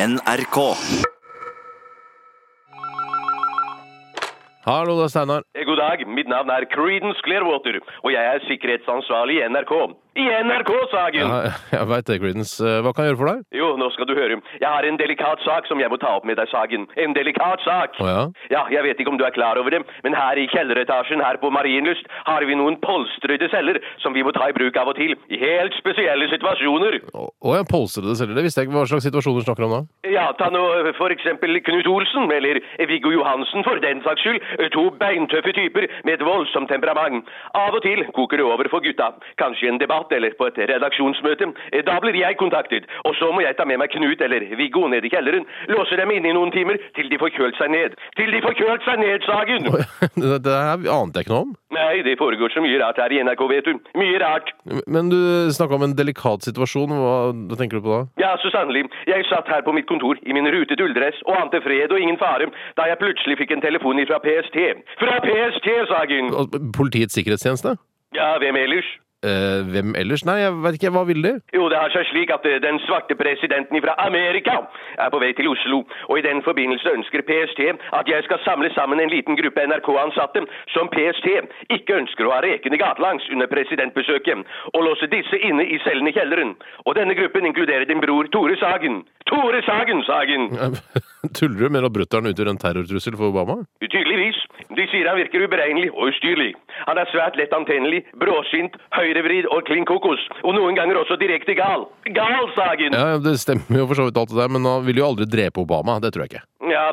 NRK. Hallo, det er Steinar. Eh, God dag, mitt navn er Creedence Clearwater, og jeg er sikkerhetsansvarlig i NRK. I NRK-saken! Ja, jeg veit det, Creedence. Eh, Hva kan jeg gjøre for deg? Jo, nå skal du høre. Jeg har en delikat sak som jeg må ta opp med deg, Sagen. En delikat sak! Å ja? Ja, jeg vet ikke om du er klar over det, men her i kjelleretasjen her på Marienlyst har vi noen polstrede celler som vi må ta i bruk av og til, i helt spesielle situasjoner. Å å ja, polstrede celler. Det visste jeg ikke. Hva slags situasjoner du snakker om da? Ja, ta nå eh, for eksempel Knut Olsen, eller Viggo Johansen for den saks skyld. Eh, To beintøffe typer med et voldsomt temperament. Av og til koker det over for gutta. Kanskje i en debatt eller på et redaksjonsmøte. Eh, Da blir jeg kontaktet, og så må jeg ta med meg Knut eller Viggo ned i kjelleren. Låse dem inne i noen timer til de får kølt seg ned. Til de får kølt seg ned, Sagen! Å, ja, Det, det her ante jeg ikke noe om. Nei, det foregår så mye rart her i NRK, vet du. Mye rart. Men du snakka om en delikat situasjon. Hva, hva tenker du på da? Ja, så sannelig. Jeg satt her på mitt kontor i min rutete ulldress og ante fred og ingen fare da jeg plutselig fikk en telefon fra PST. Fra PST, Sagen! Al- Politiets sikkerhetstjeneste? Ja, hvem ellers? Eh, hvem ellers? Nei, jeg veit ikke. Hva ville de? Jo, det har seg slik at eh, den svarte presidenten fra Amerika er på vei til Oslo, og i den forbindelse ønsker PST at jeg skal samle sammen en liten gruppe NRK-ansatte som PST ikke ønsker å ha rekende gatelangs under presidentbesøket, og låse disse inne i cellen i kjelleren. Og denne gruppen inkluderer din bror Tore Sagen. Tore Sagen, Sagen! Tuller du? Mener du at brutter'n utgjør en terrortrussel for Obama? Tydeligvis. De sier han virker uberegnelig og ustyrlig. Han er svært lett antennelig, bråsint, høyrevridd og klin kokos. Og noen ganger også direkte gal. Gal, Sagen! Ja. Ja, ja, Det stemmer jo for så vidt alt det der, men han ville jo aldri drepe Obama. Det tror jeg ikke.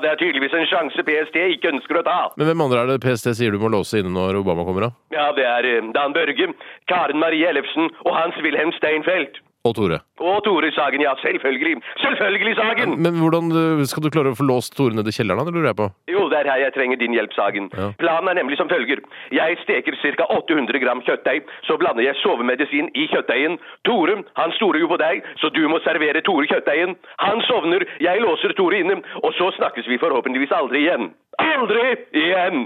det er tydeligvis en sjanse PST ikke ønsker å ta. Men hvem andre er det PST sier du må låse inne når Obama kommer, da? Ja, det er eh, Dan Børge, Karen Marie Ellefsen og Hans-Wilhelm Steinfeld. Og Tore. Og Tore Sagen, ja, selvfølgelig. Selvfølgelig, Sagen! Men hvordan eh, skal du klare å få låst Tore ned i kjelleren, da? Det lurer jeg på. Jo, det er her jeg trenger din hjelp, Sagen. Ja. Planen er nemlig som følger. Jeg steker ca. 800 gram kjøttdeig, så blander jeg sovemedisin i kjøttdeigen. Tore, han stoler jo på deg, så du må servere Tore kjøttdeigen. Han sovner, jeg låser Tore inne, og så snakkes vi forhåpentligvis aldri igjen. Aldri igjen!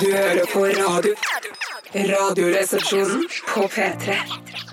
Du hører på radio. Radioresepsjonen på P3.